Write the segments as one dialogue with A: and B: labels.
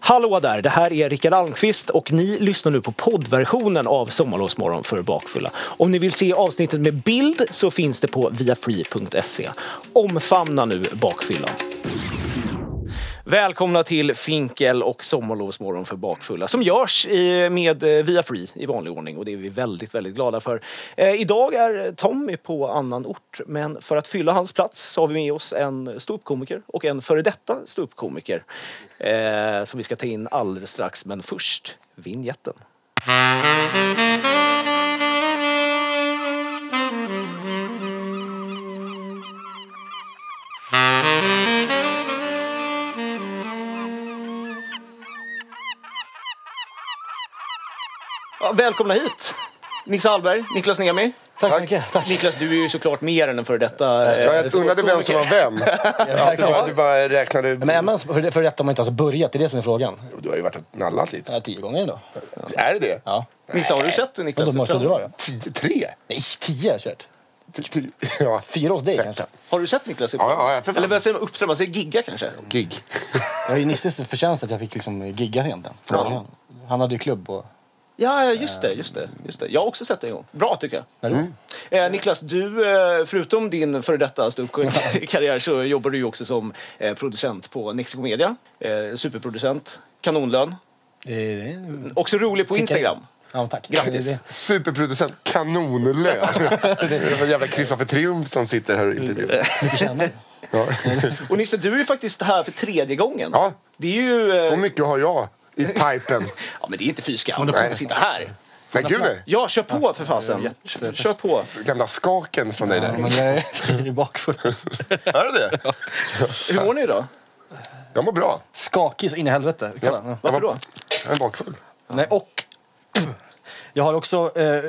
A: Hallå där, det här är Rickard Almqvist och ni lyssnar nu på poddversionen av Sommarlovsmorgon för bakfulla. Om ni vill se avsnittet med bild så finns det på viafree.se. Omfamna nu bakfyllan. Välkomna till Finkel och Sommarlovsmorgon för bakfulla som görs i- med eh, via Free i vanlig ordning och det är vi väldigt, väldigt glada för. Eh, idag är Tommy på annan ort men för att fylla hans plats så har vi med oss en ståuppkomiker och en före detta ståuppkomiker eh, som vi ska ta in alldeles strax. Men först vinjetten. Ja, välkomna hit! Nisse Hallberg, Niklas Niemi.
B: Tack så
C: Tack.
B: mycket. Tack.
A: Niklas, du är ju såklart mer än en före detta. eh,
C: Ja, jag undrade vem som var vem. Att du, bara, du bara räknade...
B: Men Emma, för, för detta har man inte ens börjat. Det är det som är frågan.
C: Du har ju varit och nallat lite.
B: Ja, tio gånger ändå.
C: Är det det?
B: Ja.
A: Nisse, har du sett det,
B: Men
A: Niklas?
B: då måste du vara
C: Tio, tre?
B: Nej, tio har jag kört.
C: T- t- Ja.
B: Fyra hos dig kanske.
A: Har du sett Niklas?
C: Ja, ja, ja, för fan.
A: Eller vad säger man? Uppträda? Man säger gigga kanske?
C: Gig.
B: Jag är ju Nisses förtjänst att jag fick liksom gigga egentligen. från
C: Ja.
B: början. Han hade ju klubb och...
A: Ja, ja, just det, just det, just det. Jag har också sett det en gång. Bra tycker jag.
B: När du?
A: Eh, Niklas, du, eh, förutom din före detta ståuppkarriär så jobbar du ju också som eh, producent på Nexiko Media. Eh, superproducent, kanonlön.
B: Det- det-
A: Också rolig på
B: Tickar.
A: Instagram.
B: Ja, tack.
A: Grattis.
B: Det-
C: Superproducent kanonlön. Det är en jävla Kristoffer Triumf som sitter här och intervjuar.
B: det- Mycket tjänar.
C: Ja.
A: Och Nisse, du är ju faktiskt här för tredje gången.
C: Ja.
A: Det är ju... Eh,
C: Så mycket har jag i pipen.
A: ja, men det är inte fy skam att sitta här.
C: Nej, gud nej.
A: Ja, kör på för fasen. Kör, kör på.
C: Gamla skaken från dig
B: Ja, men
C: där.
B: jag är- jag är bakfull.
C: Är det det?
A: Hur mår ni idag?
C: Jag mår bra.
B: Skakig så in i helvete. Kolla.
C: Ja.
A: Varför
C: Jag
A: då?
C: var- Jag är bakfull.
B: Nej, och jag har också eh,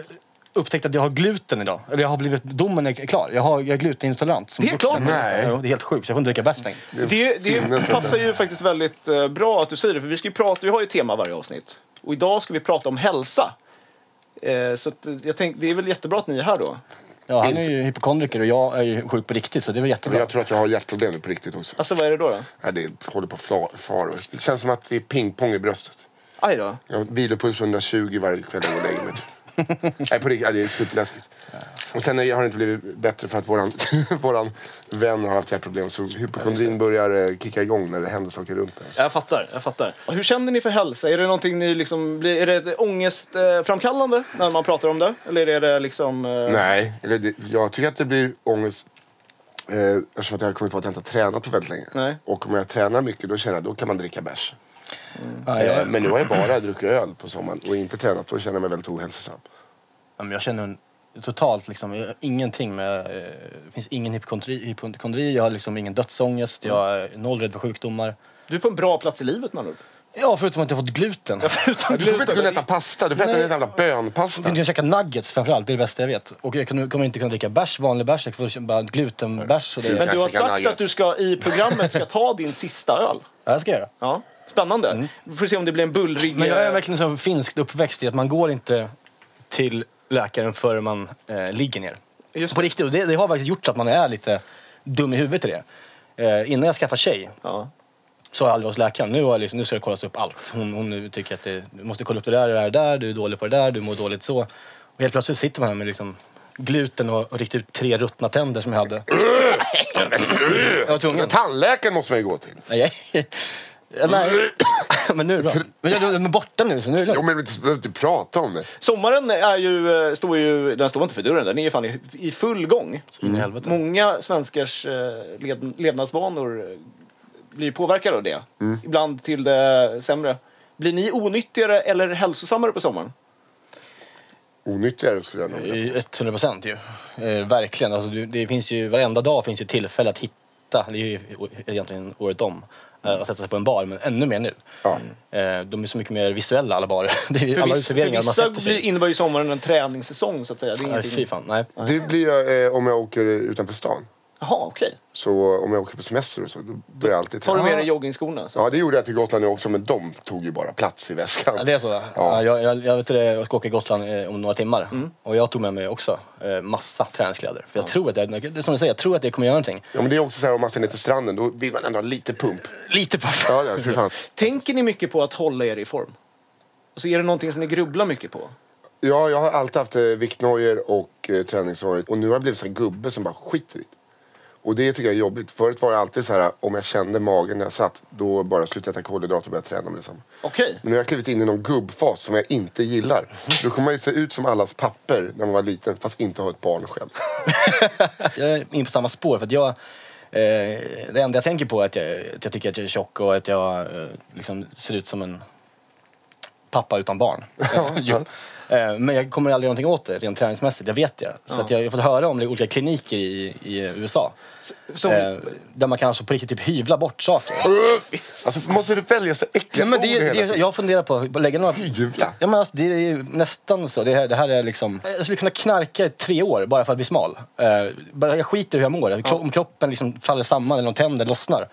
B: upptäckt att jag har gluten idag. Eller jag har blivit, domen är klar. Jag, har, jag är glutenintolerant. Som
A: Det är
B: vuxen.
A: klart.
C: Nej.
B: Jo, det är helt sjukt. så Jag får inte dricka bärs längre.
A: Det, det
C: Sinnes-
A: passar ju faktiskt väldigt eh, bra att du säger det, för vi, ska ju prata, vi har ju tema varje avsnitt. Och idag ska vi prata om hälsa. Eh, Så att eh, jag tänkte, det är väl jättebra att ni är här då.
B: Ja, han är ju hypokondriker och jag är ju sjuk på riktigt så det var jättebra.
C: Jag tror att jag har hjärtproblem nu på riktigt också.
A: Alltså vad är det då? då?
C: Nej, det håller på att fla- far. Det känns som att det är pingpong i bröstet.
A: Aj då.
C: Jag har vilopuls 120 varje kväll jag går och lägger mig. Nej, på riktigt. ja, Det är superläskigt. Och sen är- har det inte blivit bättre för att våran, våran vän har haft hjärtproblem. Så hypokondrin börjar eh, kicka igång när det händer saker runt en.
A: Jag fattar, jag fattar. Hur känner ni för hälsa? Är det någonting ni liksom, blir- är det ångestframkallande eh, när man pratar om det? Eller är det liksom... eh,
C: Nej, eller det, jag tycker att det blir ångest. Eh, eftersom att jag har kommit på att jag inte har tränat på väldigt länge.
A: Nej.
C: Och om jag tränar mycket då känner jag då kan man dricka bärs.
B: Ja, jag,
C: Eh, men nu har jag bara druckit öl på sommaren och inte tränat. Då känner jag mig väldigt ohälsosam.
B: ja, men jag känner en- totalt liksom, jag har ingenting med... eh, Det finns ingen hypokondri, hypokondri, jag har liksom ingen dödsångest, jag är noll rädd för sjukdomar.
A: Du är på en bra plats i livet man
B: Ja, förutom att jag har fått gluten.
A: Utan
C: Du kommer inte kunna
A: gluten.
C: äta pasta. Du får äta
B: Nej.
C: en jävla
B: Jag
C: bönpasta.
B: kan inte käka nuggets framförallt, det är det bästa jag vet. Och jag kunde- kommer inte kunna dricka bärs, vanlig bärs, jag får bara glutenbärs och det.
A: Men
B: Ja,
A: du har
C: Kanske kan
A: sagt att
C: nuggets.
A: du ska, i programmet ska ta din sista öl.
B: jag ska göra.
A: Ja, spännande. Vi får se om det blir en bullrig...
B: Mm. Men jag är
A: eh,
B: verkligen så finskt uppväxt i att man går inte till läkaren förrän man eh, ligger ner.
A: Just
B: på riktigt. Och det, det har faktiskt gjort så att man är lite dum i huvudet i det. Eh, innan jag skaffade tjej
A: Ja.
B: så har jag aldrig varit hos läkaren. Nu, har jag liksom, nu ska det kollas upp allt. Hon, hon nu tycker att det, du måste kolla upp det där, det där, det där, du är dålig på det där, du mår dåligt så. Och helt plötsligt sitter man här med liksom gluten och, och riktigt ut tre ruttna tänder som jag hade. jag var tvungen.
C: Tandläkaren måste man ju gå till.
B: Nej, jag- Nej. men nu är det bra. Men jag de är borta nu så nu är det
C: Jo,
B: lugnt.
C: men vi behöver inte prata om det.
A: Sommaren är ju, eh, står ju, den står inte för dörren, den är ju fan i, i full gång.
B: In i helvete.
A: Många svenskars eh, led, levnadsvanor eh, blir påverkade av det.
B: Mm.
A: Ibland till det sämre. Blir ni onyttigare eller hälsosammare på sommaren?
C: Onyttigare skulle jag nog vilja.
B: I 100 procent ju. Eh, verkligen. Alltså, du- det finns ju, varenda dag finns ju tillfälle att hitta, det är ju o- egentligen året om, eh, att sätta sig på en bar, men ännu mer nu.
C: Ja.
B: Eh, de är så mycket mer visuella alla barer. Det är ju
A: För,
B: alla
A: viss, för
B: serveringar man
A: vissa
B: sätter
A: blir,
B: sig i.
A: innebär ju sommaren en träningssäsong så att säga. Det är
B: Nej,
A: ingenting-
B: Fy fan, nej.
C: Det blir jag eh, om jag åker utanför stan.
A: Jaha, okej.
C: Så om jag åker på semester och så, då börjar jag alltid
A: Tar du
C: träna.
A: med dig joggingskorna? Så?
C: Ja, det gjorde jag till Gotland nu också, men de tog ju bara plats i väskan.
B: Ja, det är så? Ja. jag, jag, jag, vet det, jag ska åka till Gotland eh, om några timmar och jag tog med mig också eh, massa träningskläder. För jag tror att det, det är som du säger, jag tror att det kommer göra någonting.
C: Ja, men det är också så här om man ska ner till stranden, då vill man ändå ha lite pump.
B: Lite på
C: Ja, ja, för fan.
A: Tänker ni mycket på att hålla er i form? Alltså, är det någonting som ni grubblar mycket på?
C: Ja, jag har alltid haft eh, viktnojor och eh, träningsnojor. Och nu har jag blivit så här gubbe som bara skiter i det. Och det tycker jag är jobbigt. Förut var det alltid så här, om jag kände magen när jag satt, då bara slutade jag äta kolhydrater och började träna med detsamma.
A: Okej.
C: Men nu har jag klivit in i någon gubbfas som jag inte gillar. Då kommer man ju se ut som allas papper när man var liten, fast inte ha ett barn själv.
B: Jag är inne på samma spår. För att jag, eh, det enda jag tänker på är att jag, att jag tycker att jag är tjock och att jag eh, liksom ser ut som en pappa utan barn. Jo. Eh, Men jag kommer aldrig någonting åt det rent träningsmässigt, jag vet det. Så att jag har fått höra om det i olika kliniker i, i USA.
A: Som,
B: Eh, där man kan alltså på riktigt typ hyvla bort saker.
C: Alltså, måste du välja så äckliga
B: Ja, men det,
C: ord hela
B: är- det, är-
C: tiden?
B: jag funderar på att lägga några...
C: Hyvla?
B: Ja, men alltså, det är ju nästan så. Det här, det här är liksom... Jag skulle kunna knarka i tre år bara för att bli smal. Eh, bara jag skiter i hur jag mår. Kro- Om kroppen liksom faller samman eller om tänder lossnar.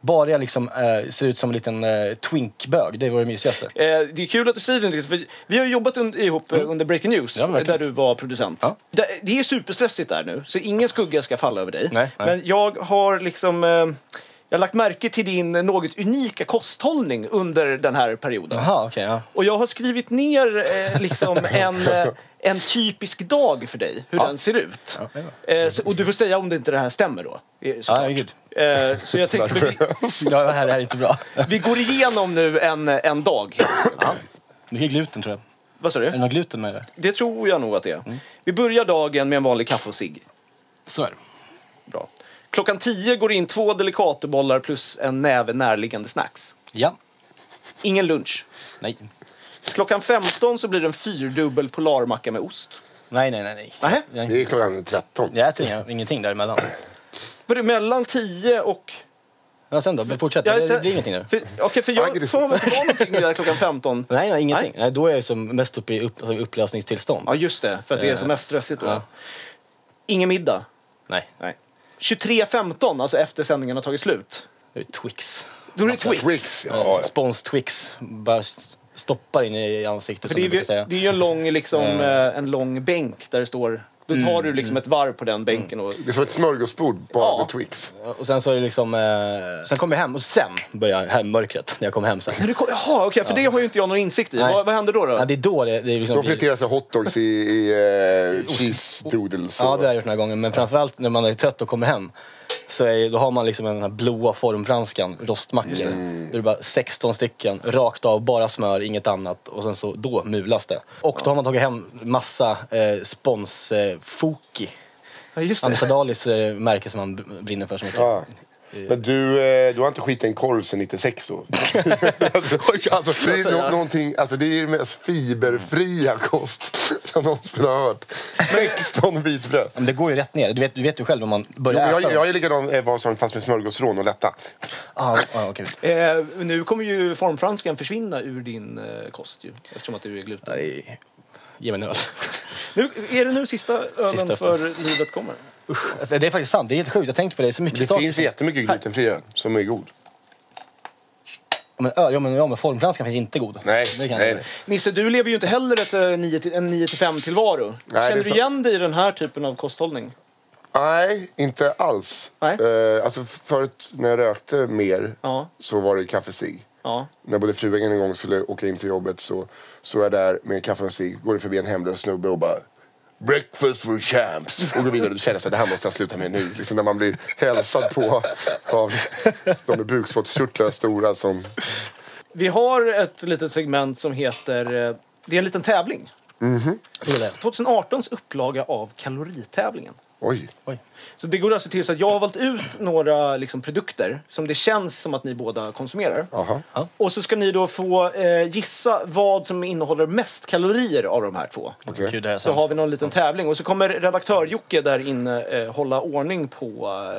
B: Bara jag liksom, eh, ser ut som en liten eh, twinkbög. Det var det mysigaste.
A: Eh, det är kul att du säger det, Niklas, för vi har ju jobbat un- ihop eh, under Breaking News,
B: Mm. Ja, verkligen.
A: där du var producent.
B: Ja.
A: Det, det är superstressigt där nu, så ingen skugga ska falla över dig.
B: Nej, nej.
A: Men jag har liksom... Eh, jag har lagt märke till din eh, något unika kosthållning under den här perioden.
B: Jaha, okej. ja.
A: Och jag har skrivit ner eh, liksom en, eh, en typisk dag för dig, hur den ser ut.
B: Ja,
A: Eh, så, och du får säga om det inte det här stämmer då. eh, såklart.
B: Ja, gud.
A: eh, så jag tänkte, vi,
B: Ja, det här är inte bra.
A: vi går igenom nu en, en dag.
B: Mycket gluten, tror jag.
A: Vad sa du?
B: Är det något gluten med det?
A: Det tror jag nog att det är.
B: Mm.
A: Vi börjar dagen med en vanlig kaffe och cigg.
B: Så är det.
A: Bra. Klockan 10 går in två delikatobollar plus en näve närliggande snacks.
B: Ja.
A: Ingen lunch.
B: Nej.
A: Klockan 15 så blir det en fyrdubbel polarmacka med ost.
B: Nej, nej, nej. nej.
A: Nähä?
B: Jag,
C: Det är klockan 13.
B: jag äter inga, ingenting däremellan.
A: Var det mellan 10 och...
B: Ja, sen då? Fortsätt.
A: Ja,
B: Det, det
A: sen-
B: blir ingenting nu.
A: För, okej, för jag
C: Aggressiv.
A: får man väl inte vara någonting där klockan 15?
B: Nej, nej ingenting. Nej. då är jag som mest uppe i upp, alltså, upplösningstillstånd.
A: Ja, just det. För att det är som mest stressigt då. Ingen middag.
B: Nej,
A: Nej. 23.15, alltså efter sändningen har tagit slut.
B: det är Twix.
A: Då är det Twix.
C: Twix,
B: Eh,
C: ja.
B: Spons Twix. Bara s- stoppar in i ansiktet
A: För
B: som
A: det,
B: du brukar
A: är ju,
B: säga.
A: det är ju en lång, liksom, eh, en lång bänk där det står... Då
B: Mm.
A: tar du liksom ett varv på den bänken och...
C: Det är som ett smörgåsbord bara
A: Ja.
C: med Twix.
B: Och sen så är det liksom... Eh, sen kommer jag hem och sen börjar här mörkret när jag kommer hem sen.
A: När du kom, jaha, okej, för det har ju inte jag någon insikt i.
B: Nej.
A: Vad, vad händer då? då?
B: Ja, det är då det, det är liksom
C: Då
B: blir...
C: friteras det hotdogs i, i eh, cheese doodles.
B: Ja, det har
C: och-
B: jag gjort några gånger. Men framförallt när man är trött och kommer hem. Så är, då har man liksom den här blåa formfranskan, rostmackor. Då är det bara 16 stycken, rakt av, bara smör, inget annat. Och sen så, då mulas det. Och då har man tagit hem massa eh, spons eh, Foki.
A: Ja, just
B: Anders
A: det.
B: Adalis eh, märke som han b- brinner för så mycket.
C: Ja. Men du, eh, du har inte skitit en korv sedan 96 då? alltså, det, är nå- någonting, alltså, det är ju den mest fiberfria
B: Mm.
C: kost jag någonsin har hört. 16 vitbröd.
B: Men det går ju rätt ner. Du vet, du vet ju själv om man
C: Jo,
B: börjar
C: men
B: äta.
C: Jag, jag är likadan eh, vad som fast med smörgåsrån och lätta.
B: Ah, ah, okej.
A: Eh, nu kommer ju formfranskan försvinna ur din eh, kost ju, eftersom att du är gluten.
B: Nej, Ge mig en öl.
A: Nu, är det nu sista ölen
B: Sista
A: för livet kommer?
B: Alltså, det är faktiskt sant. Det är helt sjukt. Jag har tänkt på det så mycket.
C: Det
B: saker.
C: finns jättemycket glutenfri öl som är god.
B: Men, öl, ja, men, ja, men formfranskan finns inte god.
C: Nej,
B: Det kan
C: nej.
B: jag-
A: Nisse, du lever ju inte heller ett, eh, nio till, en 9-5-tillvaro.
C: det är
A: Känner du
C: så-
A: igen dig i den här typen av kosthållning?
C: Nej, inte alls.
A: Nej.
C: Eh, alltså, förut när jag rökte mer
A: Ja.
C: så var det kaffe cigg.
A: Ja.
C: När både frugan en gång skulle åka in till jobbet så, så är jag där med kaffe och en cigg, går det förbi en hemlös snubbe och bara Breakfast for champs! Och går vidare och känner sig det här måste jag sluta med nu. Liksom när man blir hälsad på av de med bukspottkörtlar stora som...
A: Vi har ett litet segment som heter... eh, Det är en liten tävling.
B: Det är det.
A: 2018s upplaga av kaloritävlingen.
C: Oj.
B: Oj.
A: Så det går alltså till så att jag har valt ut några liksom, produkter som det känns som att ni båda konsumerar.
C: Aha.
A: Och så ska ni då få eh, gissa vad som innehåller mest kalorier av de här två.
C: Okej.
B: Gud, det här är
A: Så
B: sant.
A: har vi någon liten tävling och så kommer redaktör Jocke där inne eh, hålla ordning på,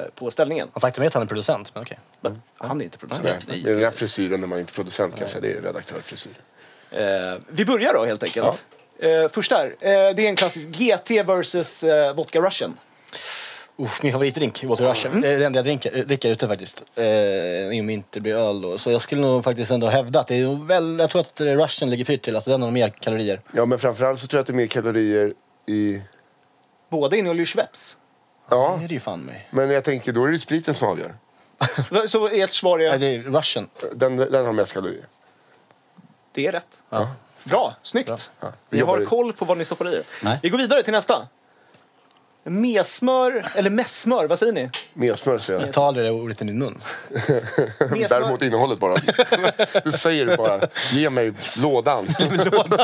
A: eh, på ställningen.
B: Han sa till mig att han är producent, men okej.
A: Men han är inte producent.
C: Nej, Med den där frisyren när man inte är producent kan jag säga, det är redaktörsfrisyr.
A: Eh, vi börjar då helt enkelt. Eh, första här, eh, det är en klassisk GT versus eh, Vodka Russian.
B: Usch, min favoritdrink, Water Russia. Det är det enda jag dricker, eh, dricker ute faktiskt. Eh, I och med inte blir öl då. Så jag skulle nog faktiskt ändå hävda att det är nog väl, jag tror att eh, Russian ligger pyrt till. Alltså den har mer kalorier.
C: Ja, men framförallt så tror jag att det är mer kalorier i...
A: Båda innehåller ju Schweppes.
C: Ja,
B: Det är det ju fan mig.
C: men jag tänker då är det spriten som avgör.
A: Va, Så ert svar
B: Nej,
A: är?
B: det är Russian.
C: Den, den har mest kalorier.
A: Det är rätt.
B: Ja.
A: Bra, snyggt.
C: Ja.
A: Ni
C: Jobbar
A: har
C: i-
A: koll på vad ni stoppar i er.
B: Nej.
A: Vi går vidare till nästa. Mesmör, eller messmör, vad säger ni?
C: Mer smör säger jag.
B: Jag tar aldrig det ordet i min mun.
A: Mesmör.
C: Däremot innehållet bara. Det säger du bara. Ge mig lådan.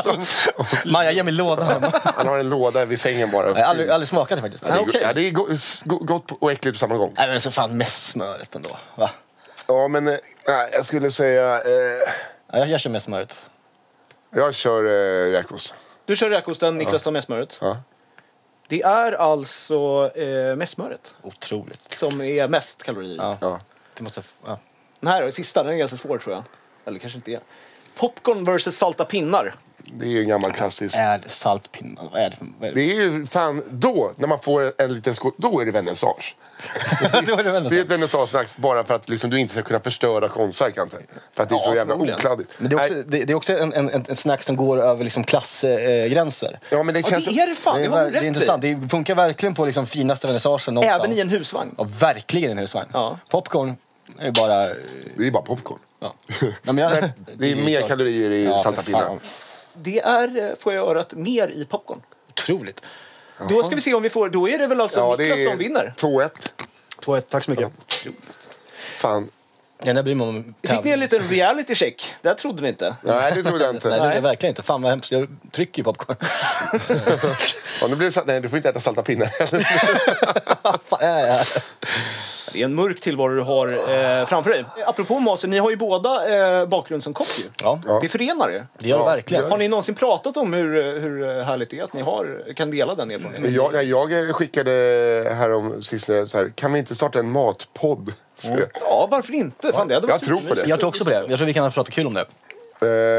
B: Maja, ge mig lådan.
C: Han har en låda vid sängen bara.
B: Jag har aldrig, aldrig smakat det faktiskt.
C: Det är,
A: okej.
C: ja, det är go- s- go- gott och äckligt på samma gång.
B: Nej men så fan med smöret ändå. Va?
C: Ja, men eh, nej, jag skulle säga... Eh,
B: Ja, jag, jag kör med smöret.
C: jag kör eh, räkost.
A: Du kör räkosten, Niklas tar messmöret.
C: Ja.
A: Det är alltså eh, messmöret
B: Otroligt.
A: som är mest kalorier.
B: Ja.
C: Ja.
B: Det måste, ja.
A: Den här då, sista, den är ganska svår tror jag. Eller kanske inte är. Popcorn versus salta pinnar.
C: Det är ju en gammal klassisk.
B: Är det saltpinnar? Vad är det för... Vad är
C: Det
B: det?
C: är ju fan då, när man får en liten skål, då är det vernissage.
B: Då är det väl
C: Det är
B: nästan.
C: ett vernissagedags bara för att liksom, du inte ska kunna förstöra konstverk antar jag. För att det är så
A: Ja,
C: jävla
A: förmodligen.
C: okladdigt.
B: Men det är också,
C: Nej,
B: det, det är också en, en, en en snack som går över liksom klassgränser.
C: ja, men det,
A: Ja,
C: känns,
A: det är det fan, det, har du
B: det
A: rätt
B: är intressant.
A: i.
B: Det funkar verkligen på liksom finaste vernissagen någonstans.
A: Även i en husvagn.
B: Ja, verkligen i en husvagn.
A: Ja.
B: Popcorn är ju bara... eh,
C: det är bara popcorn.
B: Ja. Nej, men jag-
C: Det är mer
B: klart.
C: kalorier i
B: Ja, för
C: salta pinnar.
B: fan.
A: Det är, eh, får jag örat, mer i popcorn.
B: Otroligt.
A: Då ska vi se om vi får, då är det väl alltså
C: Ja, det
A: Niklas
C: är
A: som vinner.
C: 2-1.
B: 2-1, tack så mycket.
C: Fan.
B: Ja. Den där bryr man mig om.
A: Fick ni en liten reality check? Det här trodde ni inte.
C: Nej, det trodde jag
B: Nej,
C: inte.
B: det
A: Nej.
B: är verkligen inte. Fan vad hemskt. Jag trycker ju popcorn.
C: Ja, nu blir det, salt- nej, du får inte äta salta pinnar.
B: Fan, ja, ja.
A: Det är en mörk tillvaro du har eh, framför dig. Apropå mat, så ni har ju båda eh, bakgrund som kock ju.
B: ja,
C: Ja.
A: Det förenar er.
B: det gör det
C: Ja,
B: verkligen.
A: Har ni någonsin pratat om hur, hur härligt det är att ni har, kan dela den erfarenheten?
C: Men jag, nej, jag skickade härom sistone så här, kan vi inte starta en matpodd? Så,
A: Ja, varför inte? Fan, det hade
C: Jag
A: varit
C: tror på det.
A: supermysigt.
B: Jag tror också på det. Jag tror vi kan prata kul om det.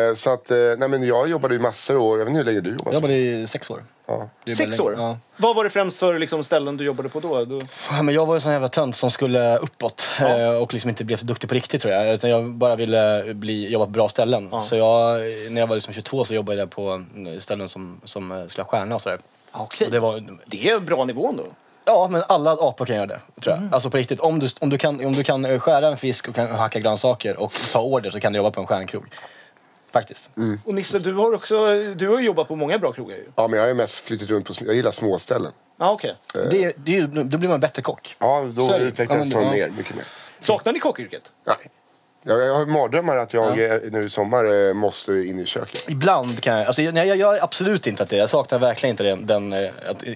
C: eh, så att, eh, nej men jag jobbade ju massor år, jag vet inte hur länge du
B: Jag
C: jobbade?
B: jobbade i sex år.
C: Ja.
B: Det är
A: Sex
B: bara-
A: år?
B: Ja.
A: Vad var det främst för liksom, ställen du jobbade på då? Du...
B: Ja, men jag var ju en sån jävla tönt som skulle uppåt eh, och liksom inte blev så duktig på riktigt tror jag. Utan jag bara ville bli, jobba på bra ställen. Så jag, när jag var liksom 22 så jobbade jag på eh, ställen som, som eh, skulle ha stjärna och sådär.
A: Okej.
B: Och Det var,
A: Det är en bra nivå ändå.
B: ja, men alla apor kan göra det tror jag. Alltså på riktigt. Om du, om, du kan, om du kan eh, skära en fisk och kan hacka grönsaker och ta order så kan du jobba på en stjärnkrog. Faktiskt.
C: Mm.
A: Och Nisse, du har, också, du har ju jobbat på många bra krogar ju.
C: Ja, men jag har ju mest flyttat runt på, sm- jag gillar småställen.
A: Ja, okej.
B: Det, är- det är ju, då blir man en bättre kock.
C: Ja, då
B: Så är det.
C: utvecklades
B: Ja, men
C: man
B: det-
C: mer,
B: ja.
C: mycket mer.
A: Saknar ni kockyrket?
C: Nej. Jag, jag har mardrömmar att jag eh, nu i sommar eh, måste in i köket.
B: Ibland kan jag... Alltså, jag- nej, jag gör absolut inte att det. Jag saknar verkligen inte den, den, eh, att eh,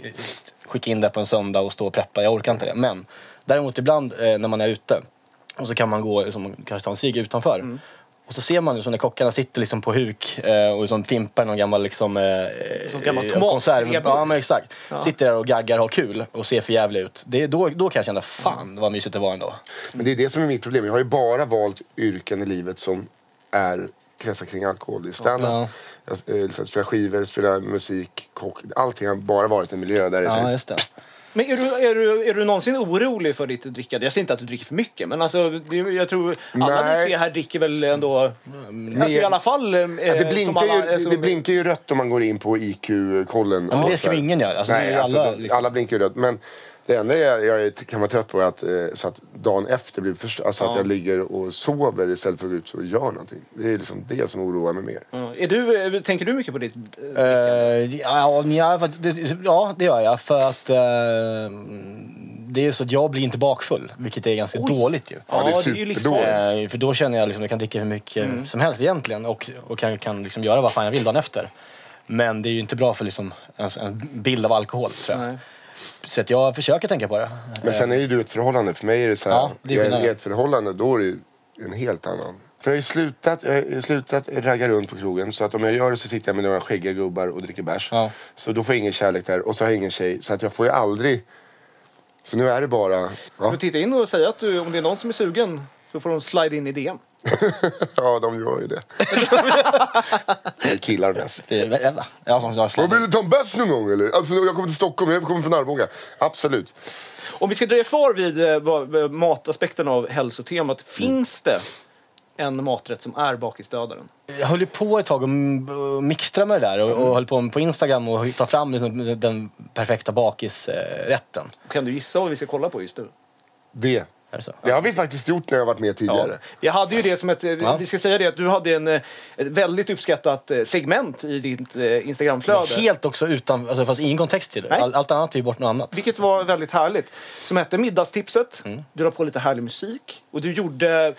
B: skicka in det på en söndag och stå och preppa. Jag orkar inte det. Men däremot ibland eh, när man är ute och så kan man gå, liksom, kanske ta en cigg utanför.
A: Mm.
B: Och så ser man ju som när kockarna sitter liksom på huk eh, och liksom fimpar någon gammal, liksom, eh,
A: Som gammal
B: eh,
A: tomat-
B: konserv.
A: rebo.
B: Ja, men exakt.
A: Ja.
B: Sitter där och gaggar och har kul och ser för jävligt ut. Det, är då, då kan jag känna, fan vad mysigt det var ändå.
C: Men det är det som är mitt problem. Jag har ju bara valt yrken i livet som är kretsar kring alkohol i standup.
B: Ja.
C: Jag eh, liksom, spelar skivor, spelar musik, kock. Allting har bara varit en miljö där det är så
B: Ja,
C: här,
B: just det.
A: Men är du, är, du, är du någonsin orolig för ditt drickande? Jag säger inte att du dricker för mycket, men alltså, det, jag tror alla
C: Nej. Mm,
A: ni tre här dricker väl ändå... alltså, I alla fall... Eh,
C: Ja, det,
A: som
C: blinkar ju,
A: alla- eh, som-
C: det blinkar ju rött om man går in på IQ-kollen.
B: Ja, men
C: och
B: det ska
C: så
B: ju
C: här.
B: ingen göra. Alltså, det är
C: Nej,
B: ju
C: alltså,
B: alla,
C: alla,
B: liksom.
C: blinkar ju rött. Men det enda jag, jag är- kan vara trött på är att, eh, så att dagen efter blir först, alltså att
A: Ja.
C: jag ligger och sover istället för att gå ut och gör någonting. Det är liksom det som oroar mig mer.
A: Ja, är du, eh, tänker du mycket på ditt... eh,
B: Eh, ja, nja, för att det- ja, det gör jag. För att eh, det är så att jag blir inte bakfull, vilket är ganska dåligt ju.
C: det är superdåligt.
B: Eh, för då känner jag liksom att jag kan dricka hur mycket som helst egentligen och, och kan, kan liksom göra vad fan jag vill dagen efter. Men det är ju inte bra för liksom ens en bild av alkohol tror jag.
A: Nej.
B: Så att jag försöker tänka på det.
C: Men sen är ju du ett förhållande. För mig är det så här,
B: Eh. Ja, det är
C: jag är
B: skillnaden.
C: i ett förhållande, då är det ju en helt annan. För jag har ju slutat, jag har ju slutat ragga runt på krogen. Så att om jag gör det så sitter jag med några skäggiga gubbar och dricker bärs.
B: Ja.
C: Så då får jag ingen kärlek där. Och så har jag ingen tjej. Så att jag får ju aldrig... Så nu är det bara...
A: Du
C: Ja.
A: får titta in och säga att du, om det är någon som är sugen så får de slide in i DM.
C: ja, de gör ju det. det är killar mest.
B: Det är, ja, som jag
C: Och vill du ta en bärs någon gång eller? Alltså, jag kommer till Stockholm, jag kommer från Arboga. Absolut.
A: Om vi ska dröja kvar vid eh, vad- eh, mataspekten av hälsotemat.
C: Mm.
A: Finns det en maträtt som är bakisdödaren?
B: Jag höll ju på ett tag och m- och mixtra med det där och,
C: Mm.
B: och höll på på Instagram och ta fram liksom den perfekta bakisrätten.
A: Kan du gissa vad vi ska kolla på just nu?
C: Det.
B: Är det så?
C: Det har vi faktiskt gjort när jag varit med
A: Ja.
C: tidigare.
A: Jag hade ju det som ett, eh,
B: Ja.
A: vi ska säga det, att du hade en, eh, ett väldigt uppskattat eh, segment i ditt eh, Instagramflöde.
B: Helt också utan, alltså fast ingen kontext till det.
A: Nej.
B: All, allt annat är ju bort något annat.
A: Vilket var väldigt härligt. Som hette Middagstipset.
B: Mm.
A: Du la på lite härlig musik. Och du gjorde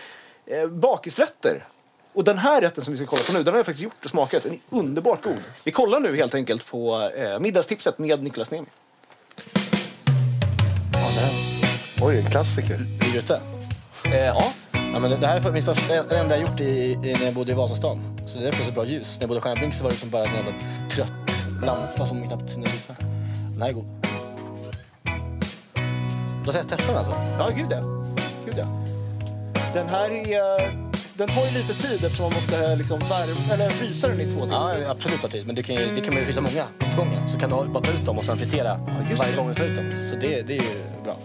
A: eh, bakisrätter. Och den här rätten som vi ska kolla på nu, den har jag faktiskt gjort och smakat. Den är underbart god. Vi kollar nu helt enkelt på eh, Middagstipset med Niklas Niemi.
B: Ja, det här
C: Oj, en klassiker.
B: är ju ute.
A: Eh, ja,
B: Ja, men det, det här är mitt första, det enda jag gjort i, i, när jag bodde i Vasastan. Så det är därför det är så bra ljus. När jag bodde i Stjärnblink så var det liksom bara en jävla trött lampa som knappt kunde lysa. Den här är god. Då testar jag den alltså.
A: ja gud ja. gud ja. Den här är... eh, Den tar ju lite tid eftersom man måste eh, liksom värma, eller frysa den i två timmar.
B: Ja, absolut har tid. Men det kan, ju, det kan man ju frysa många åt gången. Så kan du ha- bara ta ut dem och sen fritera
A: just
B: varje
A: det.
B: gång du tar ut dem. Så det, det är ju bra.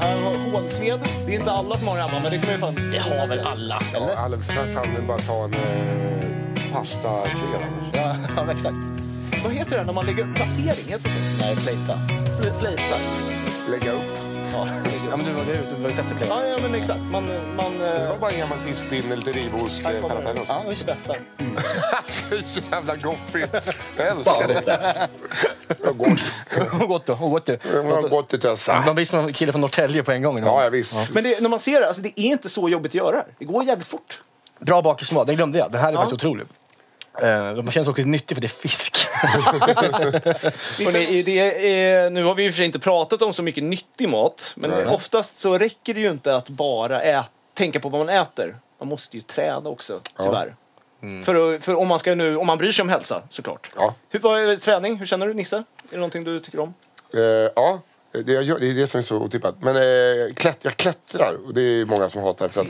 A: Här har hålsved. Det är inte alla som har det hemma, men det kan man ju fan...
B: Det har väl alla?
C: Ja,
B: Eller?
C: alla för fan men bara ta en eh, pastaslev annars.
B: Ja, ja exakt.
A: Vad heter det när man lägger upp platering? Heter
B: Nej, plejta.
A: det så? Plejtar.
C: Lägga upp.
B: Ja, ja, men du var du- du var ute efter plejta.
A: Ja, ja men exakt. Man... man
C: Det
A: eh,
C: var bara en gammal fiskpinne, lite rivost,
A: Här kommer
C: parapell och så.
B: Ja, visst.
A: bästa.
C: Så jävla goffigt. Jag älskar det. Vad gott.
B: Gott då. Gott då.
C: Det var gott i tössa.
B: Man blir som en kille från Norrtälje på en gång.
C: Ja, ja, visst.
A: Men det, när man ser det, alltså, det är inte så jobbigt att göra. det. Det går jävligt fort.
B: Bra bakismat, den glömde jag. Det här är faktiskt otroligt. Eh, Man känns också lite nyttig för det är fisk.
A: Och det, det är, nu har vi i och för sig inte pratat om så mycket nyttig mat, men
C: Nej.
A: oftast så räcker det ju inte att bara ä, tänka på vad man äter. Man måste ju träna också, tyvärr. För, att- för om, man ska nu, om man bryr sig om hälsa, såklart.
C: Ja.
A: Hur, vad är träning? Hur känner du, Nisse? Är det någonting du tycker om?
C: Eh, ja, det, jag gör, det är det som är så otippat. Men eh, klätt, jag klättrar och det är många som hatar för att...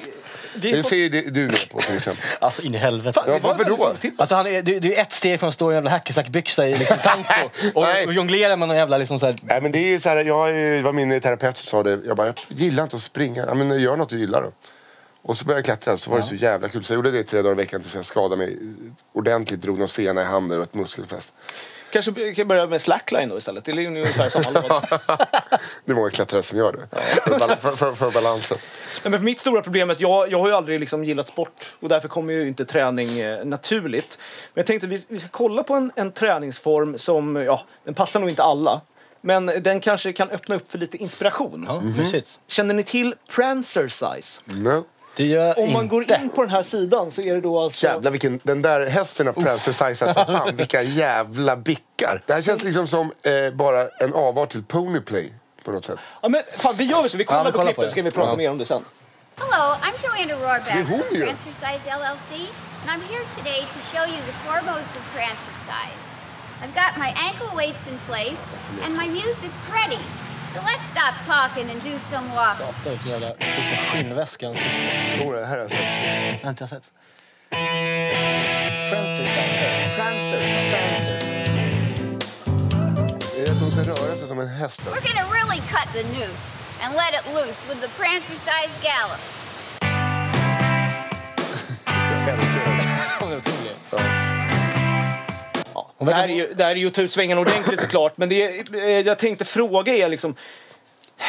A: Vi
C: Det
A: får-
C: ser ju det- du ner på till exempel.
B: Alltså in i helvete.
C: Ja, varför då?
A: väldigt otippat.
B: Alltså han är, du, du är ett steg från att stå i en jävla hackersackbyxa i liksom tanko och,
C: Nej.
B: och jonglera med någon jävla liksom så här,
C: Nej men det är ju så här, jag har ju- det var min terapeut som sa det. Jag bara, jag gillar inte att springa. Ja, men gör något du gillar då. Och så började jag klättra så var det så jävla kul. Så jag gjorde det i tre dagar i veckan tills jag skadade mig ordentligt. Drog någon sena i handen och ett muskelfäst.
A: Kanske vi kan börja med slackline då istället. Det är ju ungefär samma låda.
C: Det är många klättrare som gör det. För, bal- för, för, för balansen.
A: Nej, men för mitt stora problem är att jag, jag har ju aldrig liksom gillat sport och därför kommer ju inte träning eh, naturligt. Men jag tänkte att vi, vi ska kolla på en, en träningsform som, ja, den passar nog inte alla. Men den kanske kan öppna upp för lite inspiration.
B: ja,
C: Mhm.
B: mysigt.
A: Känner ni till Prancer Size?
C: No.
B: Det gör
A: Om man
B: inte.
A: går in på den här sidan så är det då alltså...
C: Jävlar vilken, den där hästen har prancercisat som fan. Vilka jävla bickar. Det här känns liksom som eh, bara en avart till Ponyplay på något sätt.
A: Ja, men fan, vi gör väl så. Vi kollar
B: Ja, vi
A: på
B: kollar på
A: klippen
B: det.
A: så ska vi prata
B: Ja.
A: mer om det sen.
D: Hello, I'm Joanna Rohrbeck
C: Who
D: from
C: here?
D: Prancer Size LLC, and I'm here today to show you the four modes of Prancer Size. I've got my ankle weights in place, and my music's ready. So let's stop talking and do some walking.
B: Satan vilken jävla får som en skinnväska i ansiktet.
C: Jo, det här har jag sett.
B: Jag har inte jag sett. Frenty size.
A: Prancer Size.
C: Det är som att röra sig som en häst.
D: We're gonna really cut the noose and let it loose with the Prancer Size gallop.
C: Jag älskar det.
B: Hon är otrolig.
A: Ja, det, här är ju, det här är ju att ta ut svängarna ordentligt såklart. Men det, är- eh, jag tänkte fråga er liksom.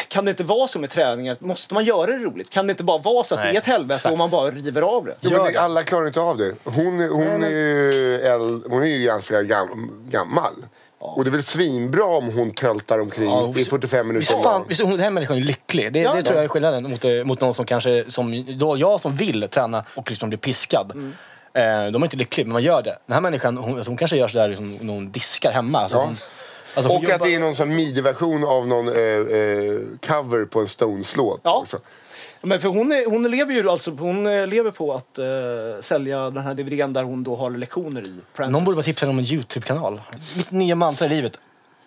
A: Kan det inte vara så med träningar? Måste man göra det roligt? Kan det inte bara vara så att
B: Nej,
A: det är ett helvete
B: exakt.
A: och man bara river av det?
C: Jo,
B: Gör
C: men det,
B: det.
C: alla klarar inte av det. Hon, är- hon, är, ju äl, hon är ju ganska gam, gammal. Och det är väl svinbra om hon töltar omkring
B: Ja,
C: i 45 minuter.
B: Visst,
C: om
B: fan,
C: dagen.
B: visst, hon- den här människan är ju lycklig. Det,
A: Ja.
B: det tror jag är skillnaden mot, eh, mot någon som kanske, som då jag som vill träna och liksom blir piskad.
A: Mm.
B: Eh, de är inte lyckliga, men man gör det. Den här människan, hon, alltså, hon kanske gör sådär liksom, när hon diskar hemma. Alltså,
C: Ja.
B: hon, alltså, hon
C: Och att
B: jobbar-
C: det är någon sån midi-version av någon eh, eh, cover på en Stones-låt. liksom.
A: Ja.
C: också.
A: Men för hon, är, hon lever ju alltså, hon eh, lever på att eh, sälja den här DVDn där hon då har lektioner i. Prancer.
B: Någon borde vara tipsad om en YouTube-kanal. Mitt nya mantra i livet.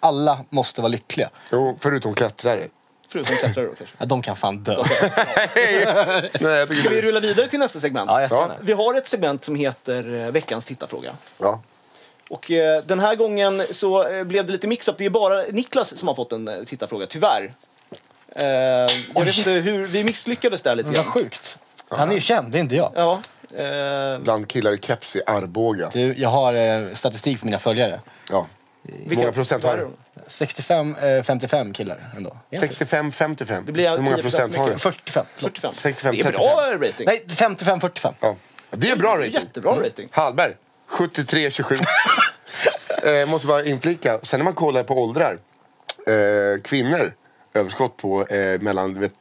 B: Alla måste vara lyckliga.
C: Jo, förutom klättrare.
A: Förutom klättrare då kanske.
B: Ja, de kan fan dö.
C: Nej, jag tycker
A: Ska vi
C: det.
A: rulla vidare till nästa segment?
B: Ja, jättegärna.
A: Vi har ett segment som heter eh, veckans tittarfråga.
C: Ja.
A: Och eh, den här gången så eh, blev det lite mix-up. Det är bara Niklas som har fått en eh, tittarfråga, tyvärr. Eh, jag vet inte hur, vi misslyckades där lite
B: Vad
A: grann.
B: sjukt. Han är ju känd, det är inte jag.
A: Ja, eh,
C: Bland killar i keps i Arboga.
B: Du, jag har eh, statistik på mina följare.
C: Ja.
A: vilka-
C: många procent har du?
B: 65-55 eh, killar ändå.
C: 65-55.
A: blir
C: Hur många
A: 10%
C: procent har du?
B: 45. förlåt.
A: 45.
C: 65,
A: det är bra rating.
B: Nej, 55-45.
C: Ja. Det är bra rating. Mm.
A: Jättebra rating.
C: Hallberg, 73-27. eh, måste bara inflika, sen när man kollar på åldrar, eh, kvinnor, överskott på eh, mellan du vet,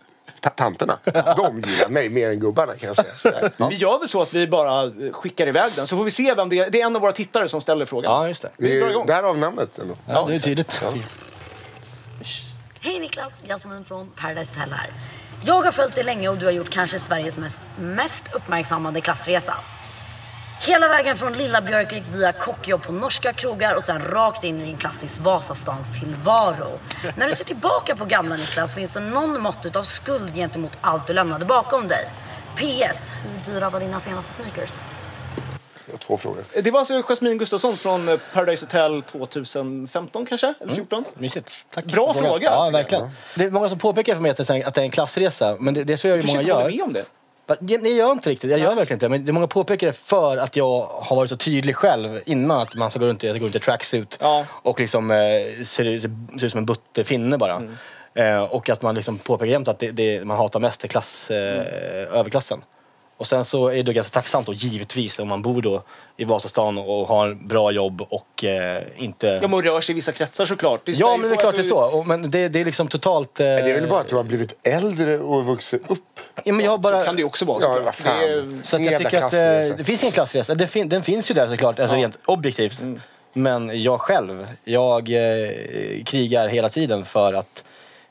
C: ta- tanterna. De gillar mig mer än gubbarna kan jag säga. Så där.
A: Vi gör väl så att vi bara eh, skickar iväg den så får vi se vem det är. Det är en av våra tittare som ställer frågan.
B: Ja, just det.
A: Vi
C: Det
A: drar igång.
C: är därav namnet ändå.
B: Ja, det är tydligt.
E: Hej Niklas, Jasmin från Paradise Hotel här. Jag har följt dig länge och du har gjort kanske Sveriges mest, mest uppmärksammade klassresa. Hela vägen från lilla Björkvik via kockjobb på norska krogar och sen rakt in i din klassiskt Vasastans tillvaro. När du ser tillbaka på gamla Niklas finns det någon mått utav skuld gentemot allt du lämnade bakom dig. PS. Hur dyra var dina senaste sneakers?
C: Det var Två frågor.
A: Det var alltså Jasmine Gustafsson från eh, Paradise Hotel 2015 kanske?
B: Mm.
A: Eller 14?
B: Mysigt. Tack.
A: Bra
B: Frågan.
A: fråga.
B: Ja, verkligen. Det är många som påpekar för mig att det är- att det är en klassresa, men det, det tror jag ju
A: Kanske
B: många
A: inte håller
B: gör.
A: med om det.
B: Va? Ja, Nej, jag gör inte riktigt. Jag gör verkligen inte det. Men det är många påpekar det för att jag har varit så tydlig själv innan att man ska gå runt i, att jag går runt i tracksuit
A: Ja.
B: och liksom eh, ser, ut- ser ut som en butter finne bara.
A: Mm.
B: Eh, och att man liksom påpekar jämt att det, det man hatar mest är klass, eh,
A: Mm.
B: överklassen. Och sen så är det ganska tacksamt då givetvis om man bor då i Vasastan och har bra jobb och eh, inte...
A: Ja, man rör sig i vissa kretsar såklart. Det
B: Ja men det är klart det är så. Och, men det, det är liksom totalt... Eh,
C: Men Det är väl bara att du har blivit äldre och vuxit upp.
B: ja, men jag har bara,
A: Så kan det ju också vara.
C: Ja,
A: såklart.
C: vad fan.
A: Det är-
B: Så att
C: Ingen
B: jag
C: jävla
B: tycker att eh,
C: klassresa.
B: det finns ingen klassresa. Den, fin- den finns ju där såklart, alltså rent objektivt. Men jag själv, jag eh, krigar hela tiden för att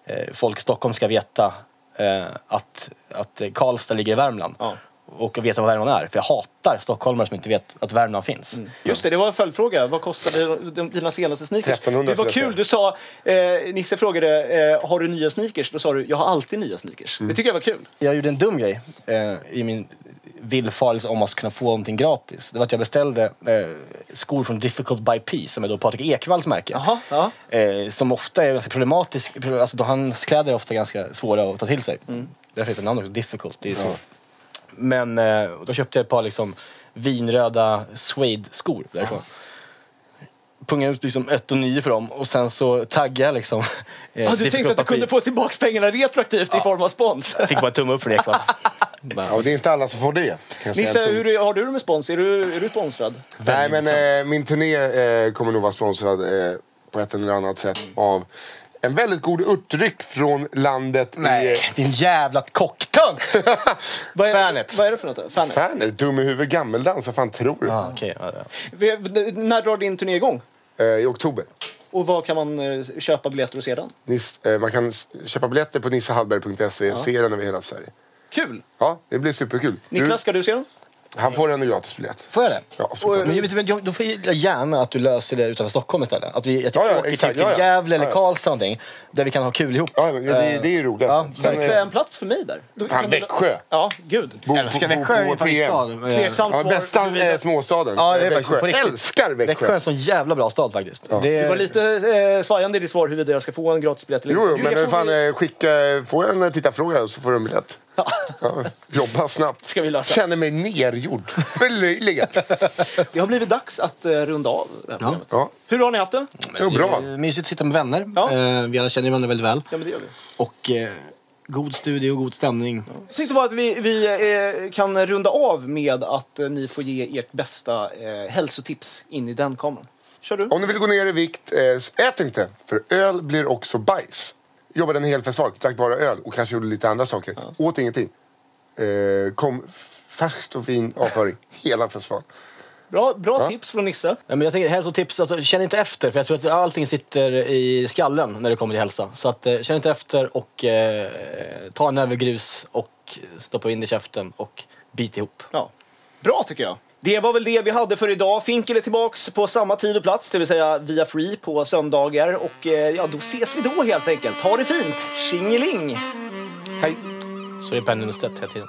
B: eh, folk i Stockholm ska veta eh, att, att eh, Karlstad ligger i Värmland.
A: Ja.
B: Och veta vad Värmland är. För jag hatar stockholmare som inte vet att Värmland finns.
A: Just det, det var en följdfråga. Vad kostade de- dina senaste sneakers?
C: 1300
A: det var
C: skulle jag
A: kul, du sa, eh, Nisse frågade eh, har du nya sneakers? Då sa du jag har alltid nya
C: Mm.
A: sneakers. Det tycker jag var kul.
B: Jag gjorde en dum grej eh, i min villfarelse om att kunna få någonting gratis. Det var att jag beställde eh, skor från Difficult by P som är då Patrik Ekwalls märke.
A: Jaha, ja.
B: Eh, som ofta är ganska problematisk. pro- Alltså, då hans kläder är ofta ganska svåra att ta till sig.
A: Mm.
B: Därför heter namnet också difficult. Det är svårt. Men eh, då köpte jag ett par liksom, vinröda suede-skor därifrån. Pungade ut liksom 1 9 för dem och sen så taggade jag liksom... eh,
A: Ah, du tänkte att
B: Difficult
A: du
B: by P.
A: kunde få tillbaka pengarna retroaktivt i form av spons.
B: Fick bara en tumme upp från Ekwall. Bara-
C: Ja, och det är inte alla som får det. Kan jag säga.
A: Nisse, hur har du det med spons? Är du, är du sponsrad?
C: Nej, men eh, min turné eh, kommer nog vara sponsrad eh, på ett eller annat sätt av en väldigt god urtdryck från landet i...
B: Nej, din jävla kocktönt!
A: Vad är,
B: Fanet.
A: Vad är det för något? Fanet.
C: Fan, är du dum i huvudet? Gammeldans, vad fan tror du?
B: ah, okay, ja, ja.
A: Vi- När drar din turné igång?
C: Eh, I oktober.
A: Och var kan man eh, köpa biljetter och se den?
C: Nis, eh, man kan s- köpa biljetter på nissehallberg.se. Se den över hela Sverige.
A: Kul!
C: Ja, det blir superkul. Du-
A: Niklas, ska du se den?
C: han får en gratis biljett.
B: Får jag det?
C: Ja, absolut.
B: Men, jag vet, men jag- då får jag gärna att du löser det utanför Stockholm istället. Att vi att jag
C: Ja, ja,
B: åker
C: exakt,
B: typ
C: ja,
B: till
C: ja.
B: Gävle eller
C: Ja, ja.
B: Karlstad någonting, där vi kan ha kul ihop. Eh,
C: Ja, men det, det är ju roligt.
B: Ja,
C: Sen,
A: Finns det
C: eh,
A: en plats för mig där? Då-
C: Fan, Växjö.
A: Ja, gud.
C: bo-
B: Älskar
C: bo-
B: Växjö,
C: bo-
B: är ju
C: bo-
B: faktiskt
C: PM.
B: stad. Eh,
A: Tveksamt
C: Ja,
A: svar.
C: bästa eh, småstaden.
B: Ja, det är
C: Eh,
B: faktiskt på riktigt.
C: Älskar
B: Växjö är en sån jävla bra stad faktiskt. Det,
A: Det var lite eh, svajande i ditt svar huruvida jag ska få en gratisbiljett eller
C: Jo, jo
A: Du,
C: men
A: jag
C: fan,
A: får-
C: eh, skicka, få en tittarfråga så får du en biljett. Ja, jobba snabbt.
A: Ska vi lösa.
C: Känner mig nergjord. Förlöjligad.
A: Det har blivit dags att eh, runda av det här programmet.
C: Ja,
A: Hur har ni haft det?
C: det var bra.
B: är mysigt att sitta med vänner.
A: Ja.
B: Eh, Vi alla känner ju varandra väldigt väl.
A: Ja, men det gör vi.
B: Och eh, god studio och god stämning.
A: Jag tänkte bara att vi, vi eh, kan runda av med att eh, ni får ge ert bästa eh, hälsotips in i den kameran. Kör du?
C: Om du vill gå ner i vikt, eh, ät inte. För öl blir också bajs. Jobbade en hel festival, drack bara öl och kanske gjorde lite andra saker. Åt ingenting. Eh, kom färskt och fin avföring. Hela festivalen.
A: Bra, bra tips från Nisse.
B: Ja, men jag tänker hälsotips, alltså, känn inte efter för jag tror att allting sitter i skallen när det kommer till hälsa. Så att, eh, känn inte efter och eh, ta en näve grus och stoppa in i käften och bit ihop.
A: Ja. Bra tycker jag. Det var väl det vi hade för idag. Finkel är tillbaks på samma tid och plats, det vill säga via Free på söndagar. Och eh, ja, då ses vi då helt enkelt. Ha det fint! Tjingeling!
C: Hej!
B: Så är Per Nunstedt hela tiden.